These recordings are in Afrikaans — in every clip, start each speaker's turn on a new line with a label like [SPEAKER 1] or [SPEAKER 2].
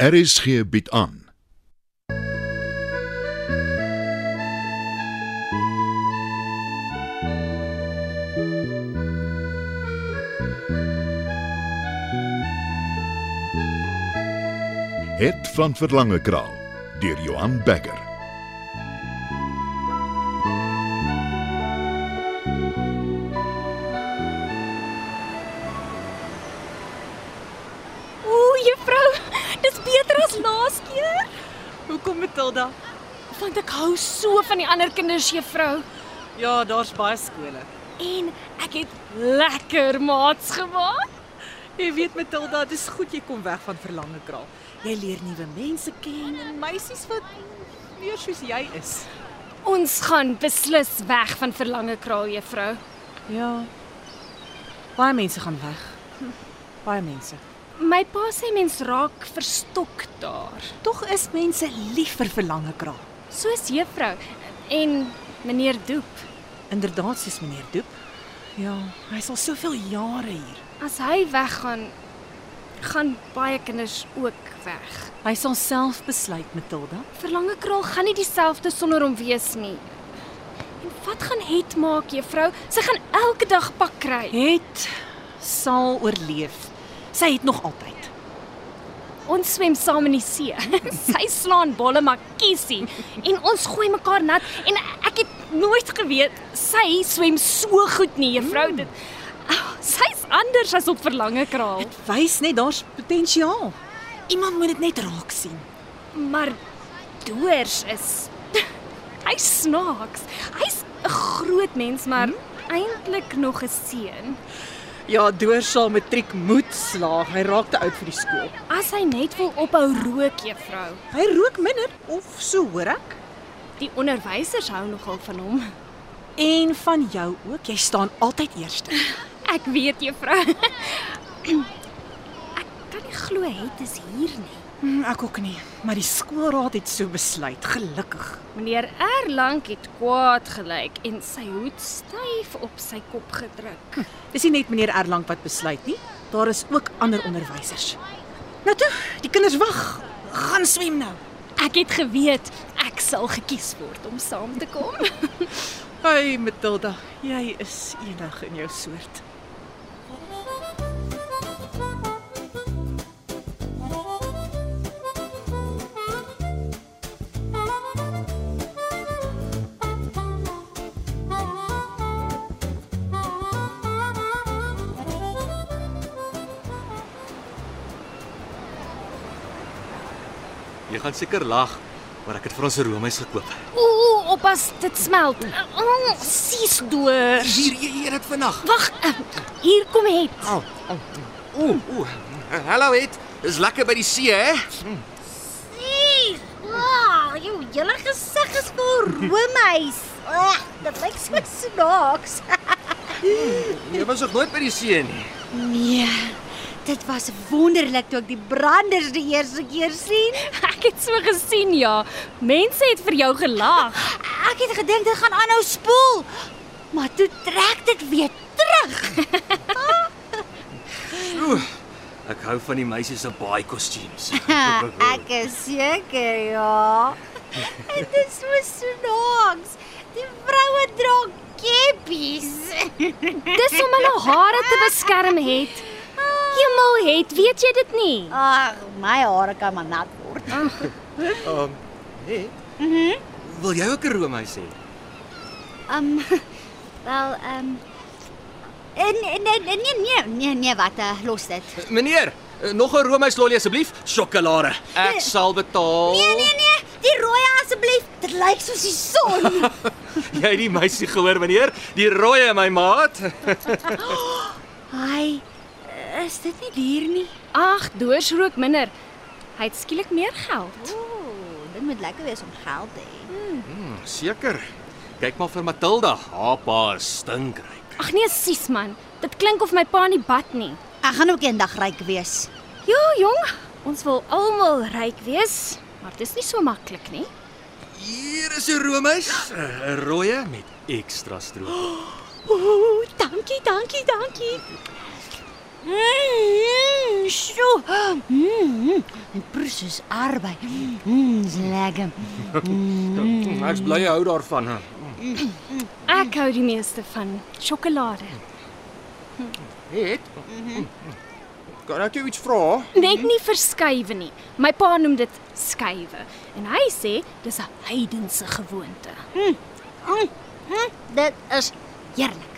[SPEAKER 1] RSG bied aan. Het van Verlange Kraal deur Johan Becker.
[SPEAKER 2] Ooh, juffrou, dis beter as laas keer.
[SPEAKER 3] Hoekom Matilda?
[SPEAKER 2] Want ek hou so van die ander kinders, juffrou.
[SPEAKER 3] Ja, daar's baie skole.
[SPEAKER 2] En ek het lekker maats gemaak.
[SPEAKER 3] Jy weet Matilda, dis goed jy kom weg van verlange kraal. Jy leer nuwe mense ken en meisies wat meer soos jy is.
[SPEAKER 2] Ons gaan beslis weg van Verlange Kraal, juffrou.
[SPEAKER 3] Ja. Baie mense gaan weg. Baie mense.
[SPEAKER 2] My pa sê mens raak verstok daar,
[SPEAKER 3] Tog is mense lief vir verlange kraal.
[SPEAKER 2] soos juffrou en meneer Doep.
[SPEAKER 3] Inderdaad, soos meneer Doep. Ja, hy's al soveel jare hier.
[SPEAKER 2] As hy weggaan, gaan baie kinders ook weg.
[SPEAKER 3] Hy sal self besluit, Matilda.
[SPEAKER 2] Verlange kraal gaan nie dieselfde sonder hom wees nie. En wat gaan het maak, juffrou? Sy gaan elke dag pak kry.
[SPEAKER 3] Het sal oorleef. Sy het nog altyd.
[SPEAKER 2] Ons swem saam in die see. Sy slaan bolle maar kiesie en ons gooi mekaar nat en ek het nooit geweet sy swem so goed nie, juffrou. Dit oh, sy's anders as op verlange kraal.
[SPEAKER 3] Wys net daar's potensiaal. Iemand moet dit net raak sien.
[SPEAKER 2] Maar doors is hy snaaks. Hy's 'n groot mens, maar eintlik nog 'n seun.
[SPEAKER 3] Ja, Doors sal matriek moet slaag. Hy raak te oud vir die skool.
[SPEAKER 2] As hy net wil ophou rook, juffrou.
[SPEAKER 3] Hy rook minder of so hoor ek.
[SPEAKER 2] Die onderwysers hou nogal van hom.
[SPEAKER 3] En van jou ook. Jy staan altyd eerste.
[SPEAKER 2] Ek weet, juffrou. ek kan nie glo het is hier nie.
[SPEAKER 3] Hm, ek ook nie, maar die skoolraad het so besluit, gelukkig.
[SPEAKER 2] Meneer Erlang het kwaad gelyk en sy hoed styf op sy kop gedruk.
[SPEAKER 3] Dis nie net meneer Erlang wat besluit nie. Daar is ook ander onderwysers. Nou toe, die kinders wag. Gaan swem nou.
[SPEAKER 2] Ek het geweet ek sal gekies word om saam te kom.
[SPEAKER 3] Hey Matilda, jy is enig in jou soort.
[SPEAKER 4] Jy gaan seker lag, maar ek het vir ons 'n roomys gekoop.
[SPEAKER 2] Ooh, oppas, dit smelt. Oh, sies deur.
[SPEAKER 4] Hier, jy eet dit vandag.
[SPEAKER 2] Wag, eh, hier kom het.
[SPEAKER 4] Au. au. Ooh, ooh. Hallo het. Dis lekker by die see, hè?
[SPEAKER 5] Sies. Wow, jou hele gesig is vol roomys. Ag, dit lyk so snaaks.
[SPEAKER 4] Jy was nog nooit by die see nie.
[SPEAKER 5] Nee. Dit was wonderlik toe ek die branders die eerste keer sien.
[SPEAKER 2] Ek het so gesien ja. Mense het vir jou gelag.
[SPEAKER 5] Ek het gedink dit gaan aanhou spoel, maar toe trek dit weer terug.
[SPEAKER 4] Ooh. Ek hou van die meisies se baai kostuums.
[SPEAKER 5] Ha, ek is seker ja. Dit is so snaaks. Die vroue dra keppies.
[SPEAKER 2] Dis om hulle hare te beskerm het. Hemel het, weet jy dit nie?
[SPEAKER 5] Ag, Ah, my hare kan maar nat word.
[SPEAKER 4] Um, nee. Mhm. Wil jy ook 'n roomys hê?
[SPEAKER 5] Ehm um, wel ehm um, nee nee nee nee nee nee wat uh, los dit.
[SPEAKER 4] Meneer, eh, nog 'n roomys lolly asseblief, sjokolade. Ek sal betaal.
[SPEAKER 5] Nee nee nee, die rooi asseblief. Dit lyk soos die son. nee.
[SPEAKER 4] Jy het die meisie gehoor, meneer? Die rooi, my maat.
[SPEAKER 5] Ai, eh, is dit nie duur nie?
[SPEAKER 2] Ag, doors rook minder. Hy het skielik meer geld.
[SPEAKER 5] Ooh, dit moet lekker wees om geld te hê.
[SPEAKER 4] Seker. Kyk maar vir Matilda. Haar pa is stinkryk.
[SPEAKER 2] Ag nee, sis man, dit klink of my pa nie bad nie.
[SPEAKER 5] Ek gaan ook eendag ryk wees.
[SPEAKER 2] Ja, jong, ons wil almal ryk wees, maar dis nie so maklik nie.
[SPEAKER 4] Hier is 'n roomys, Ja, 'n rooie met ekstra stroop.
[SPEAKER 2] Ooh, dankie, dankie, dankie.
[SPEAKER 5] Mm,
[SPEAKER 6] Mmm, so. Mmm, presies is arbei.
[SPEAKER 5] Mm,
[SPEAKER 6] Mmm, is lekker.
[SPEAKER 4] Ek's Mm, bly jy hou daarvan.
[SPEAKER 2] Ek hou die meeste van sjokolade.
[SPEAKER 4] Het. Mm-hmm. Kan ek jou iets vra?
[SPEAKER 2] Net nie verskuiwe nie. My pa noem dit skuiwe en hy sê dis 'n heidense gewoonte.
[SPEAKER 5] Dit is heerlik.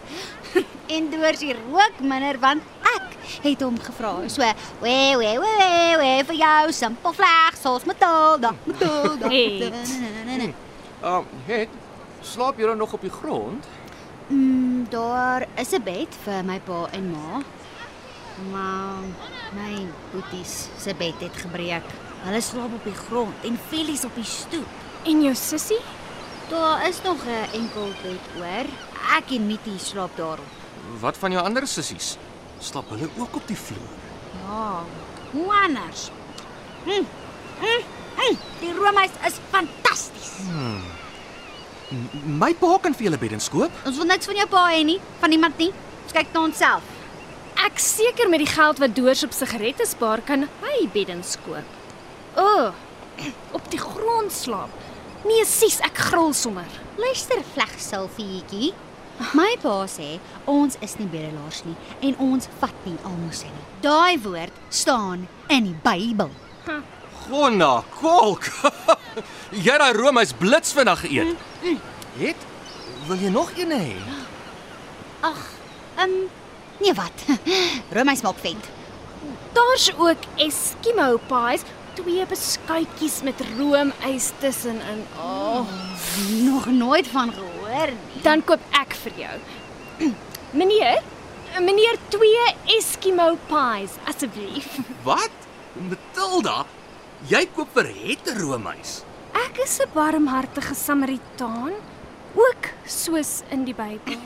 [SPEAKER 5] en deurs die rook minder want ek het hom gevra. So, we we we we we vir jou simpel vleg soos Matilda, Matilda.
[SPEAKER 2] Het.
[SPEAKER 4] Ehm, het. Slaap jy dan nog op die grond?
[SPEAKER 5] Mm, daar is 'n bed vir my pa en ma. Maar my boeties se bed het gebreek. Hulle slaap op die grond en Felix op die stoep.
[SPEAKER 2] En jou sussie?
[SPEAKER 5] Daar is nog 'n enkel bed oor. Ek en Mitty slaap daarop.
[SPEAKER 4] Wat van jou ander sissies? Slaap hulle ook op die vloer?
[SPEAKER 5] Ja, hoe anders? Mm, mm, mm, die roomys is fantasties.
[SPEAKER 4] My pa kan vir julle beddens koop.
[SPEAKER 5] Ons wil niks van jou pa hê nie, van iemand nie. Ons kyk na onsself.
[SPEAKER 2] Ek seker met die geld wat doors op sigarette spaar kan hy beddens koop. O, oh, op die grond slaap. Nee, sies, ek gril sommer.
[SPEAKER 5] Luister vleg Silfietjie. My pa sê ons is nie bedelaars nie en ons vat nie almoses nie. Daai woord staan in die Bybel.
[SPEAKER 4] Gonna, kolk. jy daai room is blits vandag geëet. Mm, Het? Wil jy nog een hê?
[SPEAKER 5] Ag, ehm um, nee wat. Romeis maak vet.
[SPEAKER 2] Daar's ook Eskimo pies, twee beskuitjies met roomys tussenin. Oh,
[SPEAKER 5] Nog nooit van gehoor nie.
[SPEAKER 2] dan koop ek vir jou. Meneer, meneer twee Eskimo pies asseblief.
[SPEAKER 4] Wat? Matilda, jy koop vir het 'n roomys.
[SPEAKER 2] Ek is 'n barmhartige Samaritaan, ook soos in die Bybel.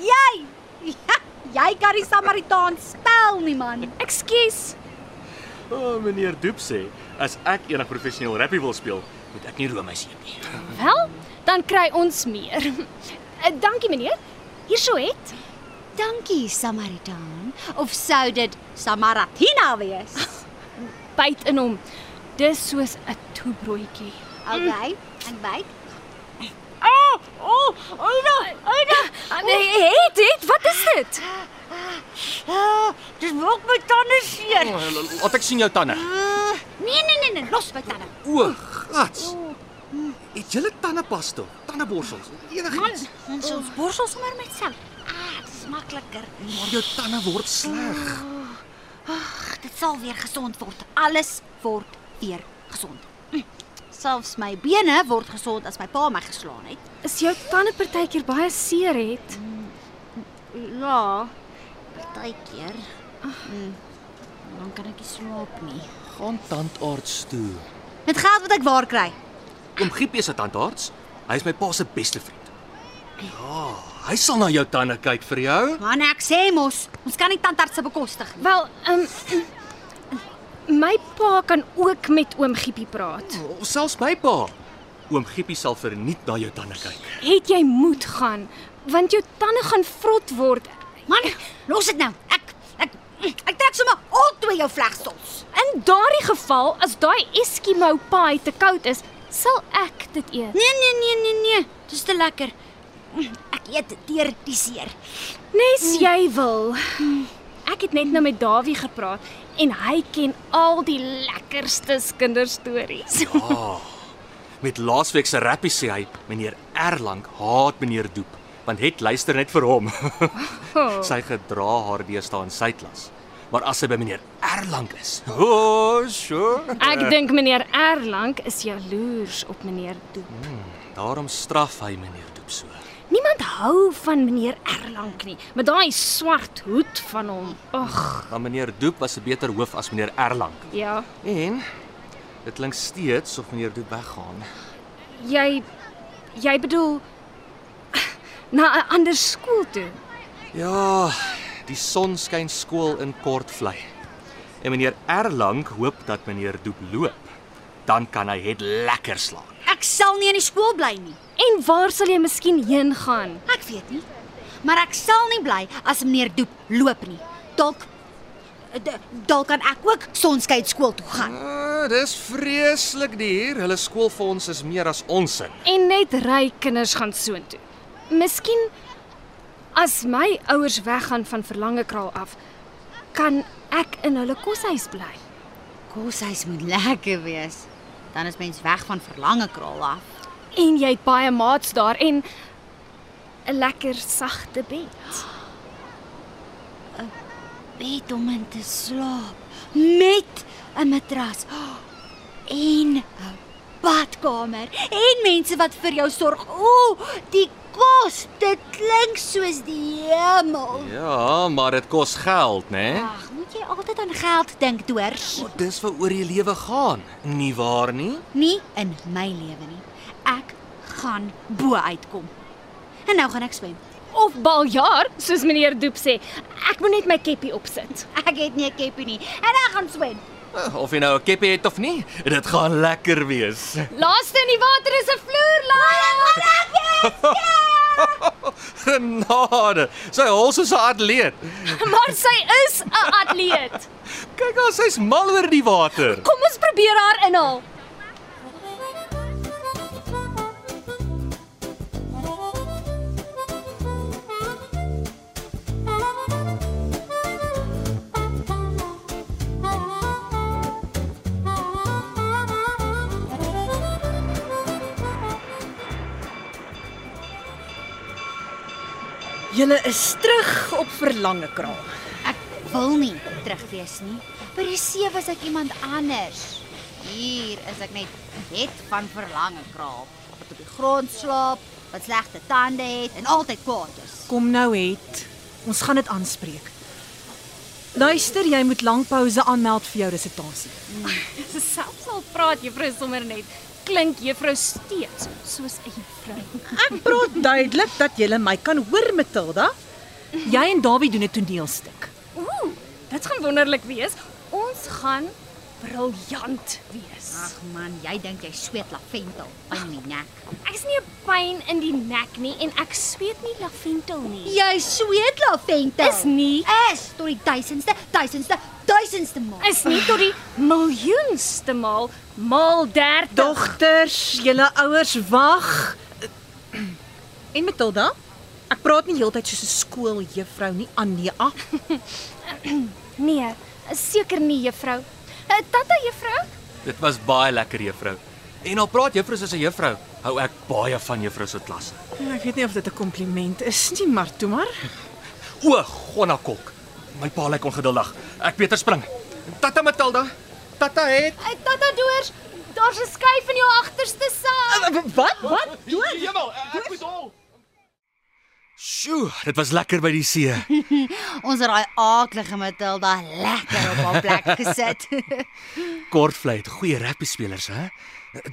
[SPEAKER 5] Jy. Ja, Jy kan die Samaritaan spel nie man.
[SPEAKER 2] Ekskuus,
[SPEAKER 4] O, oh, meneer Doep sê, as ek eendag professioneel rappie wil speel, moet ek nie roomys eet nie.
[SPEAKER 2] wel, dan kry ons meer. Eh, Dankie meneer. Hierso het.
[SPEAKER 5] Dankie Samaritaan of sou dit Samaratina wees?
[SPEAKER 2] Byt in hom. Dis soos 'n toebroodjie.
[SPEAKER 5] Okay, ek byt.
[SPEAKER 2] Ah, nee, het, het, wat is dit?
[SPEAKER 5] Dis maak my tande seer.
[SPEAKER 4] Oh, laat ek sien jou tande.
[SPEAKER 5] Nee nee nee nee, los my tande.
[SPEAKER 4] O, gats. Het julle tandepasta, tandeborsels, enigiets?
[SPEAKER 5] Ons ons borsel sommer met sel. Ah, dit is makliker.
[SPEAKER 4] Maar jou tande word sleg.
[SPEAKER 5] Ag, dit sal weer gesond word. Alles word weer gesond. Hm, Selfs my bene word gesond as my pa my geslaan het.
[SPEAKER 2] Is jou tande partykeer baie seer het?
[SPEAKER 5] Ja, partykeer. Hm, Dan kan ek nie slaap nie.
[SPEAKER 4] Gaan tandarts toe.
[SPEAKER 5] Met geld wat ek waar kry.
[SPEAKER 4] Oom Giepie se tandarts. Hy is my pa se beste vriend. Ja, hy sal na jou tande kyk vir jou.
[SPEAKER 5] Man, nee, ek sê mos, ons kan nie tandartse bekostig nie.
[SPEAKER 2] Wel, ehm um, my pa kan ook met oom Giepie praat.
[SPEAKER 4] Of selfs my pa. Oom Giepie sal verniet na jou tande kyk.
[SPEAKER 2] Het jy moed gaan, want jou tande gaan vrot word.
[SPEAKER 5] Man, los dit nou. Ek ek ek trek sommer al twee jou vlegstols.
[SPEAKER 2] In daardie geval, as daai Eskimo pie te koud is, sal ek dit eet.
[SPEAKER 5] Nee nee nee nee nee, dis te lekker. Hm, Ek eet dit deur die seer.
[SPEAKER 2] Nes jy wil. Ek het net nou met Dawie gepraat en hy ken al die lekkerste kinderstories.
[SPEAKER 4] Met laasweek se rappie sê hy, meneer Erlang haat meneer Doep, want het luister net vir hom.
[SPEAKER 2] Oh.
[SPEAKER 4] sy gedra haar deesdae in sy klas. Maar as sy by meneer Erlang is, o, oh, sure.
[SPEAKER 2] Ek dink meneer Erlang is jaloers op meneer Doep.
[SPEAKER 4] Daarom straf hy meneer Doep so.
[SPEAKER 2] Niemand hou van meneer Erlang nie, met daai swart hoed van hom. Ag,
[SPEAKER 4] Maar meneer Doep was 'n beter hoof as meneer Erlang.
[SPEAKER 2] ja.
[SPEAKER 4] En dit klink steeds of meneer Doep weggaan.
[SPEAKER 2] Jy jy bedoel na 'n ander skool toe.
[SPEAKER 4] Ja, die son skyn skool in Kortvlei. En meneer Erlang hoop dat meneer Doep loop. Dan kan hy het lekker slaap.
[SPEAKER 5] Ek sal nie in die skool bly nie.
[SPEAKER 2] En waar sal jy miskien heen gaan?
[SPEAKER 5] Ek weet nie. Maar ek sal nie bly as meneer Doep loop nie. Dalk d- dalk kan ek ook sonskyn skool toe gaan.
[SPEAKER 4] Ah, dis vreeslik duur. Hulle skoolfonds is meer as ons in.
[SPEAKER 2] En net ry kinders gaan soontoe. Miskien as my ouers weggaan van Verlangekraal af, kan ek in hulle koshuis bly.
[SPEAKER 5] Koshuis moet lekker wees. Dan is mens weg van verlange kraal af.
[SPEAKER 2] En jy het baie maats daar en 'n lekker sagte bed.
[SPEAKER 5] Bed om in te slaap met 'n matras en 'n badkamer en mense wat vir jou sorg. Ooh, die kos, dit klink soos die hemel.
[SPEAKER 4] Ja, maar dit kos geld, né? Nee?
[SPEAKER 5] Ag, moet jy altyd aan geld dink, dors?
[SPEAKER 4] Maar dis waaroor die lewe gaan, nie waar nie?
[SPEAKER 5] Nie in my lewe nie. Ek gaan bo uitkom. En nou gaan ek swem.
[SPEAKER 2] Of baljaar, soos meneer Doep sê. Ek moet net my keppie opsit.
[SPEAKER 5] Ek het nie 'n keppie nie en ek gaan swem.
[SPEAKER 4] Eh, Of jy nou 'n keppie het of nie, dit gaan lekker wees.
[SPEAKER 2] Laaste in die water is 'n vloerlaag.
[SPEAKER 4] Genade. Sy hol soos 'n atleet.
[SPEAKER 2] Maar sy is 'n atleet.
[SPEAKER 4] Kyk haar, sy's mal oor die water.
[SPEAKER 2] Kom ons probeer haar inhaal.
[SPEAKER 3] Julle is terug op Verlangekraal.
[SPEAKER 5] Ek wil nie terug wees nie. By die see was ek iemand anders. Hier is ek net het van verlange kraap. Wat op die grond slaap, wat slegte tande het en altyd kwaad is.
[SPEAKER 3] Kom nou het. Ons gaan dit aanspreek. Luister, jy moet lank pouse aanmeld vir jou resitasie.
[SPEAKER 2] Selfs al praat juffrou sommer net, klink juffrou steeds soos 'n juffrou.
[SPEAKER 3] Ek praat duidelik dat jy my kan hoor, Matilda. Jy en Dawie doen 'n toneelstuk.
[SPEAKER 2] Ooh, dit gaan wonderlik wees. Ons gaan briljant wees.
[SPEAKER 5] Ag man, jy dink jy sweet laventel aan my nek.
[SPEAKER 2] Ek is nie 'n pyn in die nek nie en ek sweet nie laventel nie.
[SPEAKER 5] Jy sweet laventel.
[SPEAKER 2] Is nie
[SPEAKER 5] is tot die duisendste, duisendste, duisendste maal.
[SPEAKER 2] is nie tot die miljoenste maal maal 30.
[SPEAKER 3] Dogters, julle ouers wag. En Matilda, ek praat nie heeltyd soos 'n skooljuffrou nie, Anja.
[SPEAKER 2] Nee, seker nie juffrou. Eh, Tata juffrou,
[SPEAKER 4] Dit was baie lekker, juffrou. En al praat juffrou soos 'n juffrou, hou ek baie van juffrou se klasse.
[SPEAKER 3] Ek weet nie of dit 'n kompliment is nie, maar toe maar.
[SPEAKER 4] O, gonna kok. My pa lyk ongeduldig. Ek beter spring. Tata Matilda. Tata het.
[SPEAKER 2] Eh, tata doors, daar's 'n skuif in jou agterste saak.
[SPEAKER 3] Wat? Wat?
[SPEAKER 4] Jemmel, ek moet hol. Sjoe, dit was lekker by die see.
[SPEAKER 5] Ons het daai aaklige Matilda lekker op haar plek gesit.
[SPEAKER 4] Kortvlei het goeie rappiespelers, hè?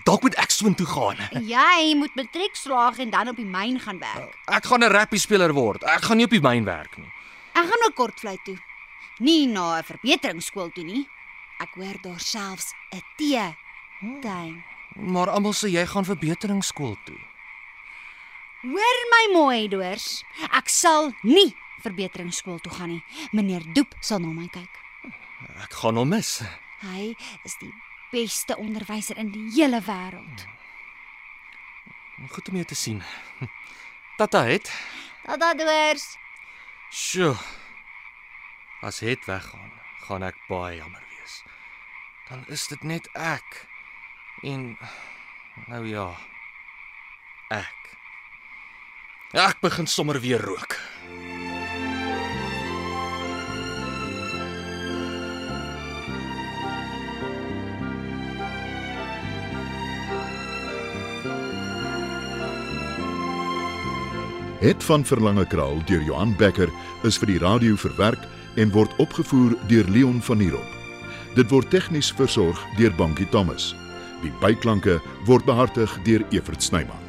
[SPEAKER 4] Dalk moet ek soontoe gaan.
[SPEAKER 5] jy moet matriek slaag en dan op die myn gaan werk.
[SPEAKER 4] Ek gaan 'n rappiespeler word. Ek gaan nie op die myn werk nie.
[SPEAKER 5] Ek gaan ook kortvlei toe. Nie na 'n verbeteringsskool toe nie. Ek hoor daar selfs 'n tee tuin.
[SPEAKER 4] Maar almal sê jy gaan verbeteringsskool toe.
[SPEAKER 5] Hoor my mooi, Doors. Ek sal nie verbeteringsskool toe gaan nie. Meneer Doep sal na my kyk.
[SPEAKER 4] Ek gaan hom mis.
[SPEAKER 5] Hy is die beste onderwyser in die hele wêreld.
[SPEAKER 4] Goed om jou te sien. Tata het.
[SPEAKER 5] Tada Doors.
[SPEAKER 4] Sjoe. As het weggaan, gaan ek baie jammer wees. Dan is dit net ek. En nou ja. Ek. Ek begin sommer weer rook.
[SPEAKER 1] Het van Verlange Kraal deur Johan Becker is vir die radio verwerk en word opgevoer deur Leon Van Heerop. Dit word tegnies versorg deur Bankie Thomas. Die byklanke word behartig deur Evert Snyman.